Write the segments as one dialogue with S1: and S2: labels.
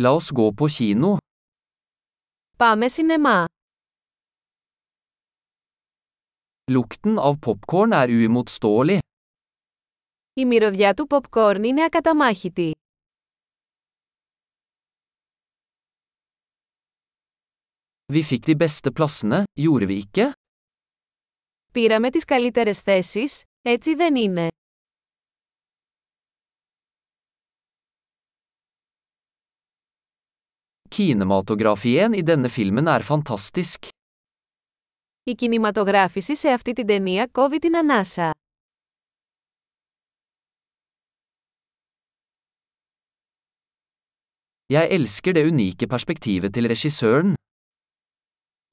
S1: La oss gå på kino.
S2: Πάμε σινεμά.
S1: Lukten av popcorn är uimotståelig.
S2: Η μυρωδιά του popcorn είναι ακαταμάχητη.
S1: Vi fikk de beste plassene, gjorde vi ikke?
S2: Πήραμε τις καλύτερες θέσεις, έτσι δεν είναι.
S1: Kinematografien i denne filmen er fantastisk.
S2: Η κινηματογράφηση σε αυτή την ταινία κόβει την ανάσα.
S1: Jeg elsker det unike perspektivet til regissøren.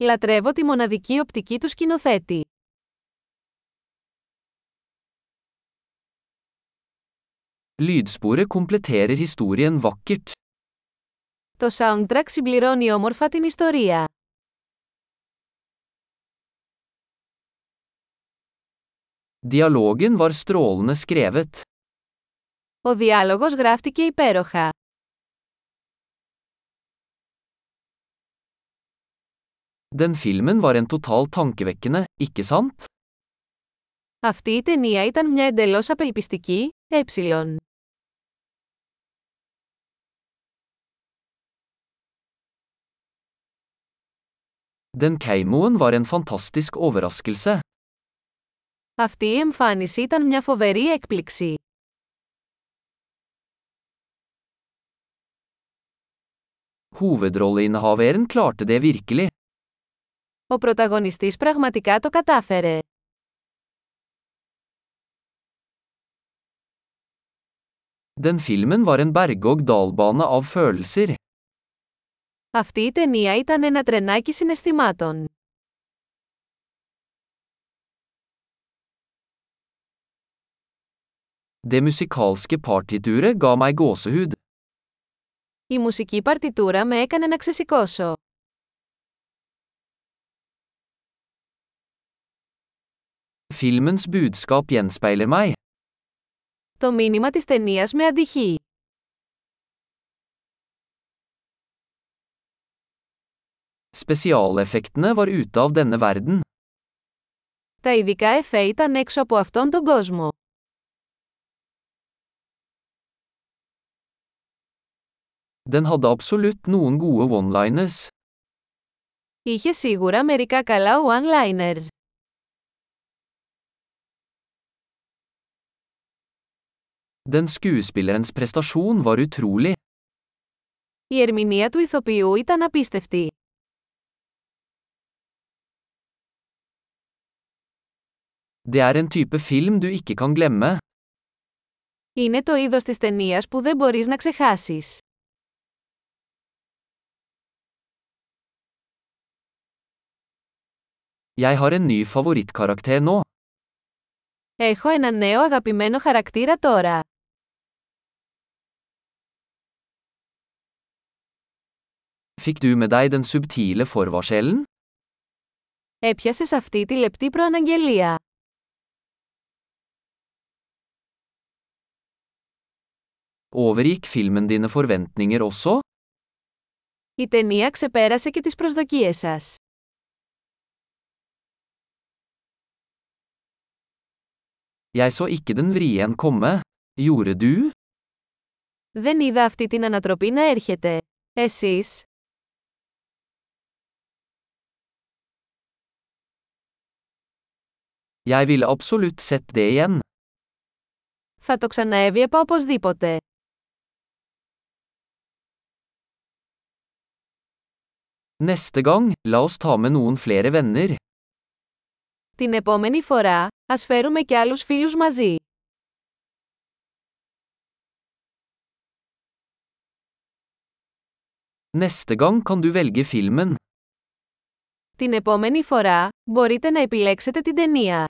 S2: Λατρεύω τη μοναδική οπτική του σκηνοθέτη.
S1: Lydsporet kompletterer historien vakkert.
S2: Το soundtrack συμπληρώνει όμορφα την ιστορία.
S1: Dialogen var strålende skrevet.
S2: Ο διάλογος γράφτηκε υπέροχα.
S1: Den filmen var en totalt tankevekkende, ikke sant?
S2: Αυτή η ταινία ήταν μια εντελώς απελπιστική, ε.
S1: Den keimoen var en fantastisk overraskelse.
S2: Αυτή η εμφάνιση ήταν μια φοβερή έκπληξη.
S1: Hovedrolleinnehaveren klarte det virkelig.
S2: Ο πρωταγωνιστής πραγματικά το κατάφερε.
S1: Den filmen var en berg-og-dal-bane av følelser.
S2: Αυτή η ταινία ήταν ένα τρενάκι συναισθημάτων.
S1: Det musikalske partituret ga meg gåsehud.
S2: Η μουσική παρτιτούρα με έκανε να ξεσηκώσω.
S1: Filmens budskap gjenspeiler meg.
S2: Το μήνυμα της ταινίας με αντυχεί.
S1: Spesialeffektene var ute av denne verden.
S2: Τα ειδικά εφέ ήταν έξω από αυτόν τον κόσμο.
S1: Den hadde absolutt noen gode one-liners.
S2: Είχε σίγουρα μερικά καλά one-liners.
S1: Den skuespillerens prestasjon var utrolig.
S2: Η ερμηνεία του ηθοποιού ήταν απίστευτη.
S1: Det er en type film du ikke kan glemme.
S2: Είναι το είδος της ταινίας που δεν μπορείς να ξεχάσεις.
S1: Jeg har en ny favorittkarakter nå.
S2: Έχω ένα νέο αγαπημένο χαρακτήρα τώρα.
S1: Fikk du med deg den subtile forvarselen?
S2: Έπιασες αυτή τη λεπτή προαναγγελία.
S1: Overgikk filmen dine forventninger også?
S2: Η ταινία ξεπέρασε και τις προσδοκίες σας.
S1: Jeg så ikke den vrien komme. Gjorde du?
S2: Δεν είδα αυτή την ανατροπή να έρχεται. Εσείς,
S1: Jeg ville absolutt sett det igjen.
S2: θα το ξαναέβλεπα οπωσδήποτε.
S1: Neste gang, la oss ta med noen flere venner.
S2: Την επόμενη φορά, ας φέρουμε και άλλους φίλους μαζί.
S1: Neste gang kan du velge filmen.
S2: Την επόμενη φορά, μπορείτε να επιλέξετε την ταινία.